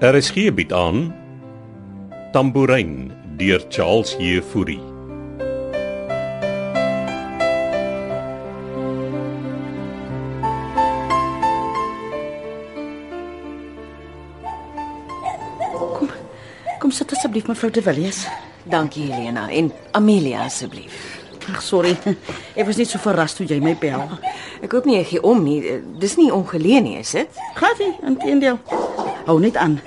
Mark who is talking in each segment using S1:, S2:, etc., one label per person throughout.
S1: RSG bied Er aan Tambourin deur Charles Heffury.
S2: Kom sit asseblief mevrou De Villiers.
S3: Dankie Helena en Amelia asseblief.
S2: Ag sorry. Ek was net so verras toe jy my bel.
S3: Ek hoop nie jy gee om nie. Eh, Dis nie ongeleen nie, is dit?
S2: Glad nie, inteendeel. Hou net aan.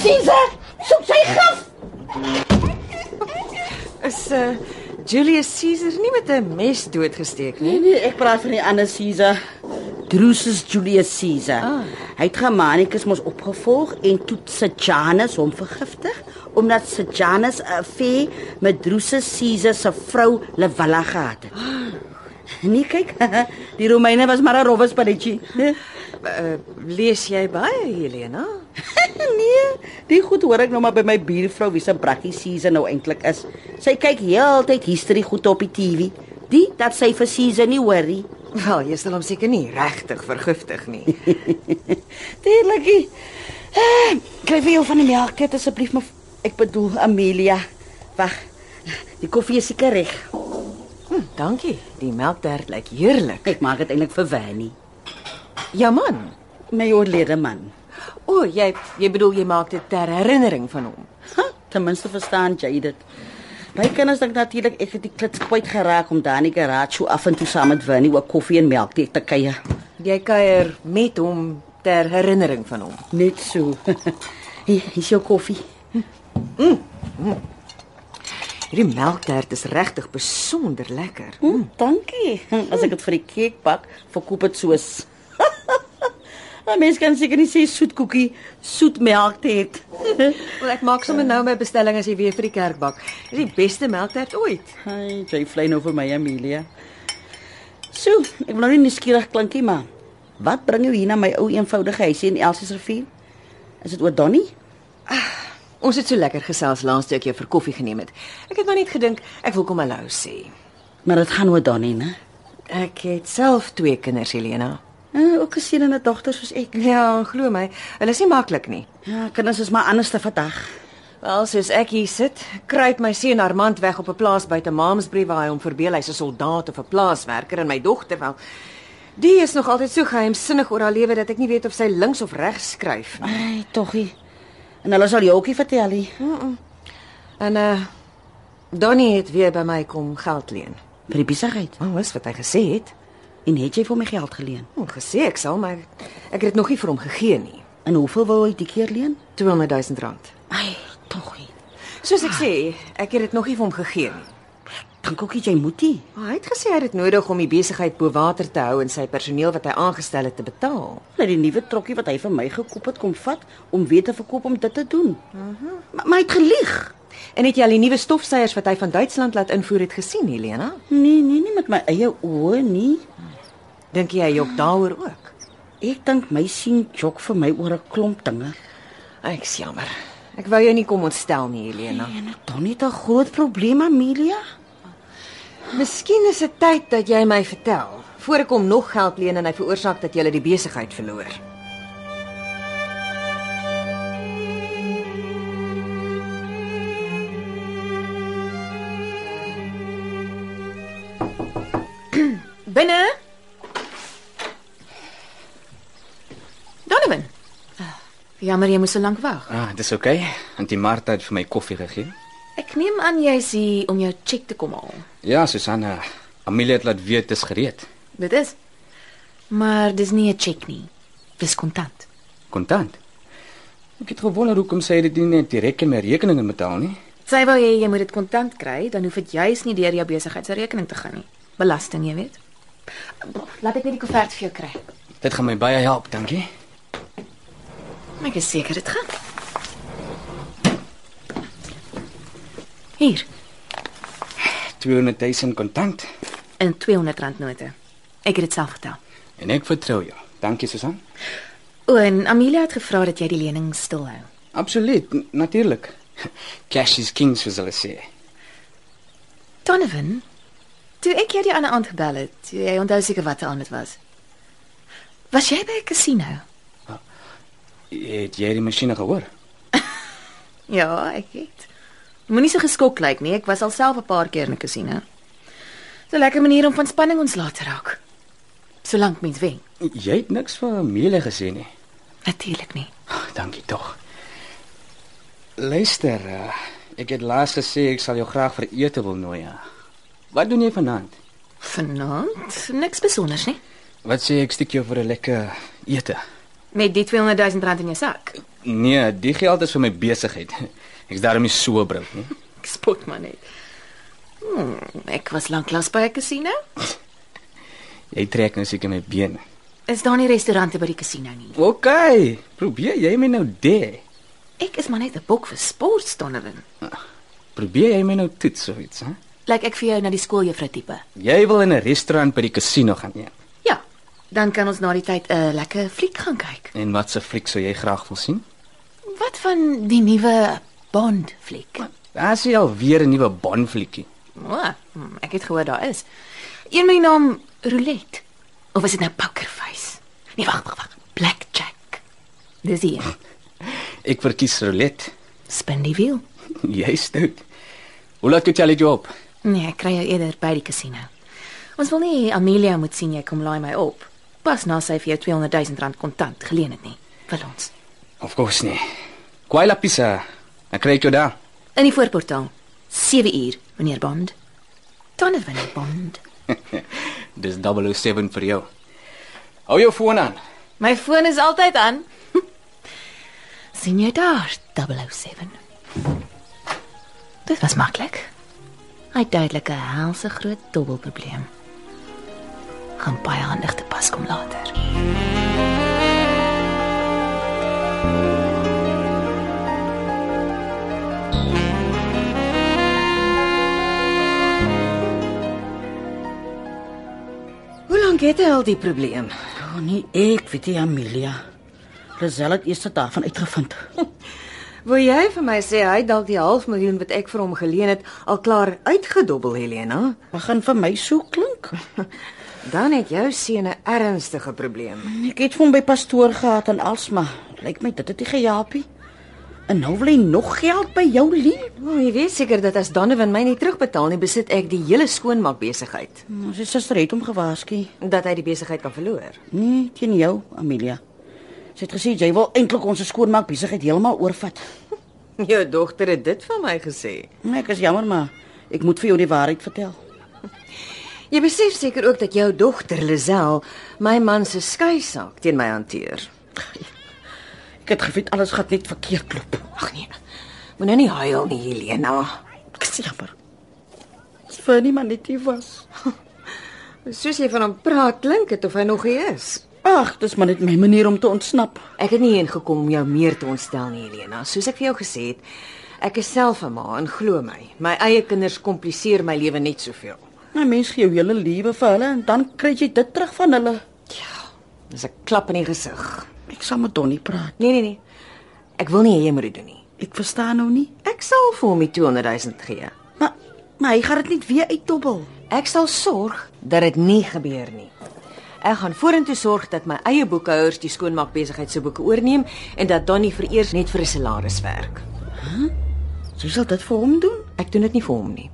S4: Sieze, soek sy graf.
S3: Is uh Julius Caesar nie met 'n mes doodgesteek nie?
S2: Nee nee, ek praat van die ander Caesar. Drusus Julius Caesar. Ah. Hy het Germanicus mos opgevolg en toe Sejanus hom vergiftig omdat Sejanus 'n fee met Drusus Caesar se vrou Livilla gehad het. Ah. Nee kyk, die Romeine was maar 'n rowwespannetjie.
S3: Uh, lees jy baie Helena?
S2: nee, die goed hoor ek nou maar by my buurvrou wie se brakkie season nou eintlik is. Sy kyk heeltyd history goed op die TV. Die dat sy vir season nie worry.
S3: Wel, jy sal hom seker nie regtig vergiftig nie.
S2: Tuurlikie. Eh, Kry vir jou van die melktyd asseblief, maar ek bedoel Amelia. Wag. Die koffie is seker reg.
S3: Hm, dankie. Die melktert lyk heerlik.
S2: Ek maak dit eintlik vir Vannie,
S3: Ja man.
S2: my oorlede man.
S3: O, jy jy bedoel jy maak dit ter herinnering van hom.
S2: Ha, ten minste verstaan jy dit. My kinders dink natuurlik ek het die klits kwyt geraak om daar in die garage so af en toe saam met Winnie ook koffie en melk te te kuier.
S3: Jy kuier met hom ter herinnering van hom.
S2: Net so. Hier hier is jou koffie.
S3: Hierdie melktert is regtig besonder lekker.
S2: Mm, dankie. As ek dit vir die cake bak, verkoop dit soos. 'n Mens kan seker nie sê soet koekie, soet melk te het.
S3: Wel ek maak sommer nou my bestelling as jy weer vir die kerk bak. Dis die beste melktert ooit.
S2: Ai, jy vlei nou vir my Amelia. So, ek wil nou nie nuuskierig klinkie maar wat bring jou hier na my ou eenvoudige huisie in Elsie se rivier? Is dit oor Donnie?
S3: Ons het so lekker gesels laas toe ek jou vir koffie geneem het. Ek het maar net gedink ek wil kom hallo sê.
S2: Maar dit gaan oor Donnie, né?
S3: Ek het self twee kinders, Helena.
S2: Uh, ook 'n seun en 'n dogter soos ek.
S3: Ja, glo my, hulle is nie maklik nie.
S2: Ja, kinders is maar anders te vandag.
S3: Wel, soos ek hier sit, kruip my seun Armand weg op 'n plaas buite Maamsbrief waar hy hom verbeel hy's 'n soldaat of 'n plaaswerker en my dogter wel. Die is nog altyd so geheimsinnig oor haar lewe dat ek nie weet of sy links of regs skryf nie.
S2: Ai, toggie. En hulle sal jou ookie vertel hier.
S3: En uh Donnie het weer by my kom geld leen.
S2: Vir die besigheid.
S3: Maar wat wat hy gesê het?
S2: En het jy vir my geld geleen?
S3: Hom gesê ek sal, maar ek het dit nog nie vir hom gegee nie.
S2: En hoeveel wou jy die keer leen?
S3: 200 000 rand.
S2: Ai, tog. nie.
S3: Soos ek sê, ek het dit nog nie vir hom gegee nie.
S2: Dink ook nie jy moet nie.
S3: Maar hy het gesê hy het dit nodig om die besigheid bo water te hou en sy personeel wat hy aangestel het te betaal.
S2: Nou die nuwe trokkie wat hy vir my gekoop het, kom vat om weer te verkoop om dit te doen. Mhm. maar, maar hy het gelieg.
S3: En het jy al die nuwe stofsuiers wat hy van Duitsland laat invoer het gesien, Helena?
S2: Nee, nee, nie met my eie oë nie.
S3: Dink jy hy jok daaroor ook?
S2: Ek dink my sien jok vir my oor 'n klomp dinge.
S3: Ek's jammer. Ek wou jou nie kom ontstel nie, Helena.
S2: En dit dan nie 'n groot probleem, Amelia.
S3: Miskien is dit tyd dat jy my vertel voor ek hom nog geld leen en hy veroorsaak dat jy die besigheid verloor.
S4: Binne. Donovan. Jammer jy moes so lank wag.
S5: Ah, dis oké. Okay. Antie Martha het vir my koffie gegee.
S4: Ek neem aan jy is hier om jou cheque te kom haal.
S5: Ja, Susanna, Amelia het laat weet dis gereed.
S4: Dit is. Maar dis nie 'n cheque nie. Dis kontant.
S5: Kontant. Ek het gewonder hoekom sy dit nie net direk in my rekeninge betaal nie.
S4: Sy wou hê jy moet dit kontant kry, dan hoef dit juis nie deur jou besigheid se rekening te gaan nie. Belasting, jy weet. Laat ek net die koevert vir jou kry.
S5: Dit gaan my baie help, dankie.
S4: Ek is seker dit gaan. Hier,
S5: 200 000 kontant.
S4: in R200 note. Ek het dit self getel.
S5: En ek vertrou jou. Dankie, Susan.
S4: O, en Amelia het gevra dat jy die lening stilhou.
S5: Absoluut, n- natuurlik. Cash is king, soos hulle sê.
S4: Donovan, toe ek jou die ander aand gebel het, jy onthou seker watter aand dit was. Was jy by 'n casino?
S5: Het jy die masjiene gehoor?
S4: Ja, ek het. Moenie so geskok lyk nie. Ek was alself 'n paar keer in 'n kasino. Dis 'n lekker manier om van spanning ontslae te raak. Solank mens wen.
S5: Jy het niks van Mele gesê nie.
S4: Natuurlik nie.
S5: Ag, dankie tog. Luister, eh, ek het laas gesê ek sal jou graag vir ete wil nooi. ja. Wat doen jy vanaand?
S4: Vanaand niks spesiaals nie.
S5: Wat sê ek steek jou vir 'n lekker ete?
S4: Met die 200 000 rand in jou sak.
S5: Nee, die geld is vir my besigheid. Ek's daarom nie so brood nie.
S4: Ek spot maar net. Hmm, ek was lanklaas by 'n kasino.
S5: Jy trek nou seker my been.
S4: Is daar nie restaurante by die kasino nie?
S5: OK, probeer jy my nou dê.
S4: Ek is maar net 'n bok vir sport, Donovan.
S5: Probeer jy my nou toets of iets, hè?
S4: Lyk ek vir jou na die skooljuffrou tipe?
S5: Jy wil in 'n restaurant by die kasino gaan eet.
S4: Ja. Dan kan ons na die tyd 'n lekker fliek gaan kyk.
S5: En wat se fliek sou jy graag wil sien?
S4: Wat van die nuwe Bond fliek?
S5: Daar's hier alweer 'n nuwe Bond fliekkie.
S4: O, hm, ek het gehoor daar is. Een met die naam roulette. Of is dit nou pokerface? Nee, wag, wag, wag. Blackjack. Dis hier.
S5: Ek verkies roulette.
S4: Spin die wiel.
S5: Jy stout. Hoe laat tel ek jou op?
S4: Nee, ek kry jou eerder by die kasino. Ons wil nie hê Amelia moet sien jy kom laai my op. Pas na sy vir jou 200 000 rand kontant geleen het nie. Wil ons.
S5: Of course nie. Kwaai la pizza. Dan kry ek jou daar.
S4: In die voorportaal. 7 uur, meneer Bond. Donovan Bond.
S5: Dis 007 vir jou. Hou jou foon aan.
S4: My foon is altyd aan. sien jy daar 007? Dit was maklik. Hy het duidelik 'n helse groot dobbelprobleem. Gaan baie handig te pas kom later.
S3: Hoe lank het hy al die probleem?
S2: Oh, nee, ek weet nie Amelia. Lisel het eers daarvan uitgevind.
S3: Wil jy vir my sê hy het dalk die half miljoen wat ek vir hom geleen het al klaar uitgedobbel, Helena?
S2: Begin vir my so klink.
S3: Dan het jou seun 'n ernstige probleem.
S2: Ek het hom by pastoor gehad en alsma. Lyk my dit het nie gehelp nie. En nou wil hy nog geld by jou leen.
S3: O, oh, jy weet seker dat as Donovan my nie terugbetaal nie, besit ek die hele skoonmaak besigheid.
S2: Nou, Sy suster het hom gewaarsku.
S3: Dat hy die besigheid kan verloor.
S2: Nee, teen jou, Amelia. Sy het gesê jy wil eintlik ons skoonmaak besigheid heeltemal oorvat.
S3: Jou dogter het dit van my gesê.
S2: Nee, ek is jammer maar ek moet vir jou die waarheid vertel.
S3: Jy besef seker ook dat jou dogter Lisel my man se skei saak teen my hanteer.
S2: Ek het geweet alles gaan net verkeerd loop.
S3: Ag nee. Moet nou nie huil nie, Helena.
S2: Ek is jammer. Dis vir niemand net hier was.
S3: Soos jy van hom praat, klink dit of hy nog hier is.
S2: Ag, dis maar net my manier om te ontsnap.
S3: Ek het nie heen gekom om jou meer te ontstel nie, Helena. Soos ek vir jou gesê het, ek is self 'n ma en glo my, my eie kinders kompliseer my lewe net soveel.
S2: Nou mens gee jou hele lewe vir hulle en dan kry jy dit terug van hulle.
S3: Ja, dis 'n klap in die gesig.
S2: Ek sal met Donnie praat.
S3: Nee, nee, nee. Ek wil nie hê jy moet dit doen nie.
S2: Ek verstaan nou nie.
S3: Ek sal vir hom die 200 000 gee.
S2: Maar maar hy gaan dit net weer uitdobbel.
S3: Ek sal sorg dat dit nie gebeur nie. Ek gaan vorentoe sorg dat my eie boekhouers die skoonmaak besigheid se boeke oorneem en dat Donnie vereers net vir 'n salaris werk.
S2: Sy sal dit vir hom doen.
S3: Ek doen dit nie vir hom nie.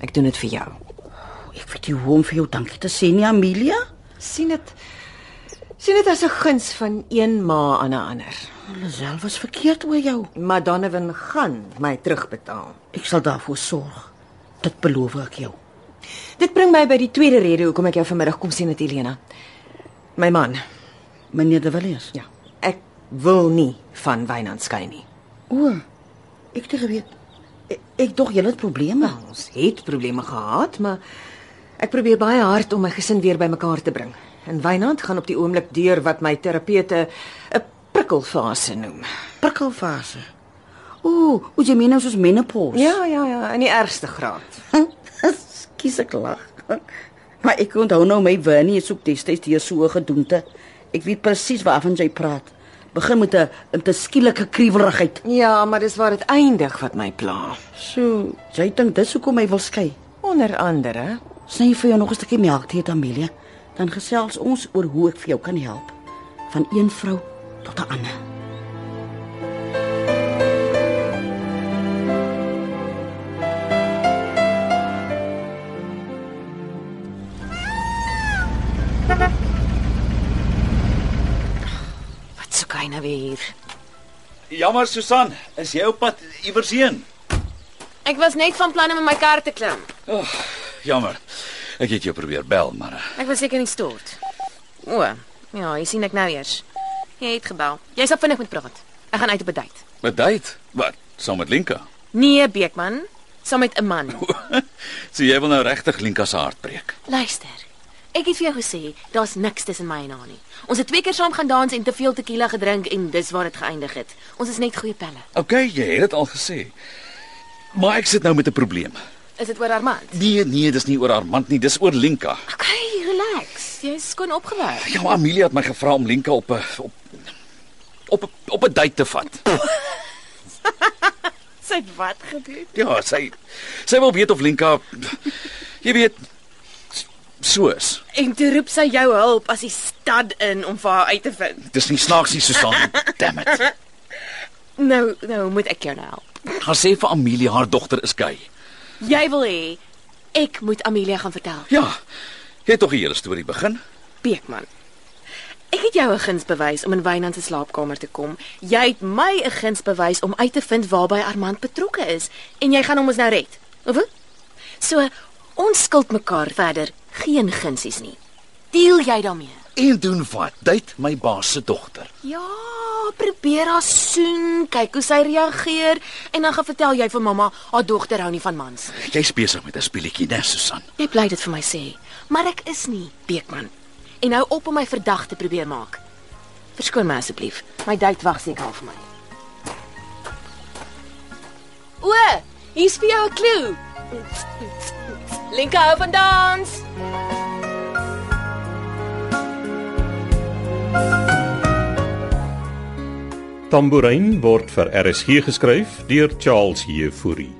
S3: Ek doen dit vir jou.
S2: O, Ek weet nie hoe om vir jou dankie te sê nie, Amelia.
S3: sien dit sien dit as 'n guns van een ma aan 'n ander.
S2: Hulle self was verkeerd oor jou.
S3: Maar Donovan gaan my terugbetaal.
S2: Ek sal daarvoor sorg. Dit beloof ek jou.
S3: Dit bring my by die tweede rede hoekom ek jou vanmiddag kom sien met Helena. My man.
S2: Meneer De Villiers.
S3: Ja, ek wil nie van Wynand skei nie.
S2: O. Ek het nie geweet. Ek, ek dog julle het probleme.
S3: Wel, Ons het probleme gehad, maar ek probeer baie hard om my gesin weer bymekaar te bring. En Wynand gaan op die oomblik deur wat my terapeute 'n prikkelfase noem.
S2: Prikkelfase. O, o jy meen nou soos menopause.
S3: Ja, ja, ja, in die ergste graad.
S2: Kies ek lag. Maar ek onthou nou my Winnie het soek destyds hier so 'n gedoente. Ek weet presies waarvan jy praat. Begin met 'n 'n te skielike kriewelrigheid.
S3: Ja, maar dis waar dit eindig wat my pla.
S2: So, jy dink dis hoekom hy wil skei.
S3: Onder andere,
S2: Sny vir jou nog 'n stukkie melk tee, Amelia, dan gesels ons oor hoe ek vir jou kan help. Van een vrou tot 'n ander.
S4: kuine nou weer hier.
S6: Jammer Susan, is jy op pad iewers heen?
S4: Ek was net van plan om in my kar te klim.
S6: Jammer. Ek het jou probeer bel, maar eh,
S4: Ek was seker nie stort. O, ja, jy sien ek nou eers. Jy het gebel. Jy sal vinnig moet praat. Ek gaan uit op 'n date.
S6: met date. Wat? Saam met Linka.
S4: Nee, Beekman, saam met 'n man.
S6: so jy wil nou regtig Linka se hart breek.
S4: Luister. Ek het vir jou gesê, daar's niks tussen my en haar nie. Ons het twee keer saam gaan dans en te veel tequila gedrink en dis waar dit geëindig het. Ons is net goeie pelle.
S6: OK, jy het dit al gesê. Maar ek sit nou met 'n probleem.
S4: Is dit oor Armand?
S6: Nee, nee, dis nie oor Armand nie, dis oor Linka.
S4: Okay, relax. Jy's skoon opgewek.
S6: Ja, Amelia het my gevra om Linka op 'n op op 'n- op 'n date te vat.
S4: Sy het wat gedoen?
S6: Ja, sy sy wil weet of Linka jy weet soos.
S4: En toe roep sy jou hulp as die stad in om vir haar uit te vind.
S6: Dis nie snaaks nie, Susan. Damn it.
S4: Nou, nou moet ek jou nou help.
S6: Gaan sê vir Amelia haar dogter is gay.
S4: Jy wil hê ek moet Amelia gaan vertel.
S6: Ja. Jy het tog die hele storie begin.
S4: Beekman. Ek het jou 'n guns bewys om in Wynand se slaapkamer te kom. Jy het my 'n guns bewys om uit te vind waarby Armand betrokke is en jy gaan hom ons nou red. Of hoe? So ons skuld mekaar verder geen gunsies nie. Deel jy daarmee?
S6: En doen wat? Date my baas se dogter.
S4: Ja, probeer haar soen, kyk hoe sy reageer en dan gaan vertel jy vir mamma haar dogter hou nie van mans.
S6: Jy's besig met 'n speletjie, né, Susan?
S4: Jy bly dit vir my sê, maar ek is nie Beekman. En hou op om my verdag te probeer maak. Verskoon my asseblief. My date wag seker al vir my. O, hier's vir jou 'n klou. Linka hou van dans.
S1: Tambourin word vir RSG geskryf deur Charles Heffury.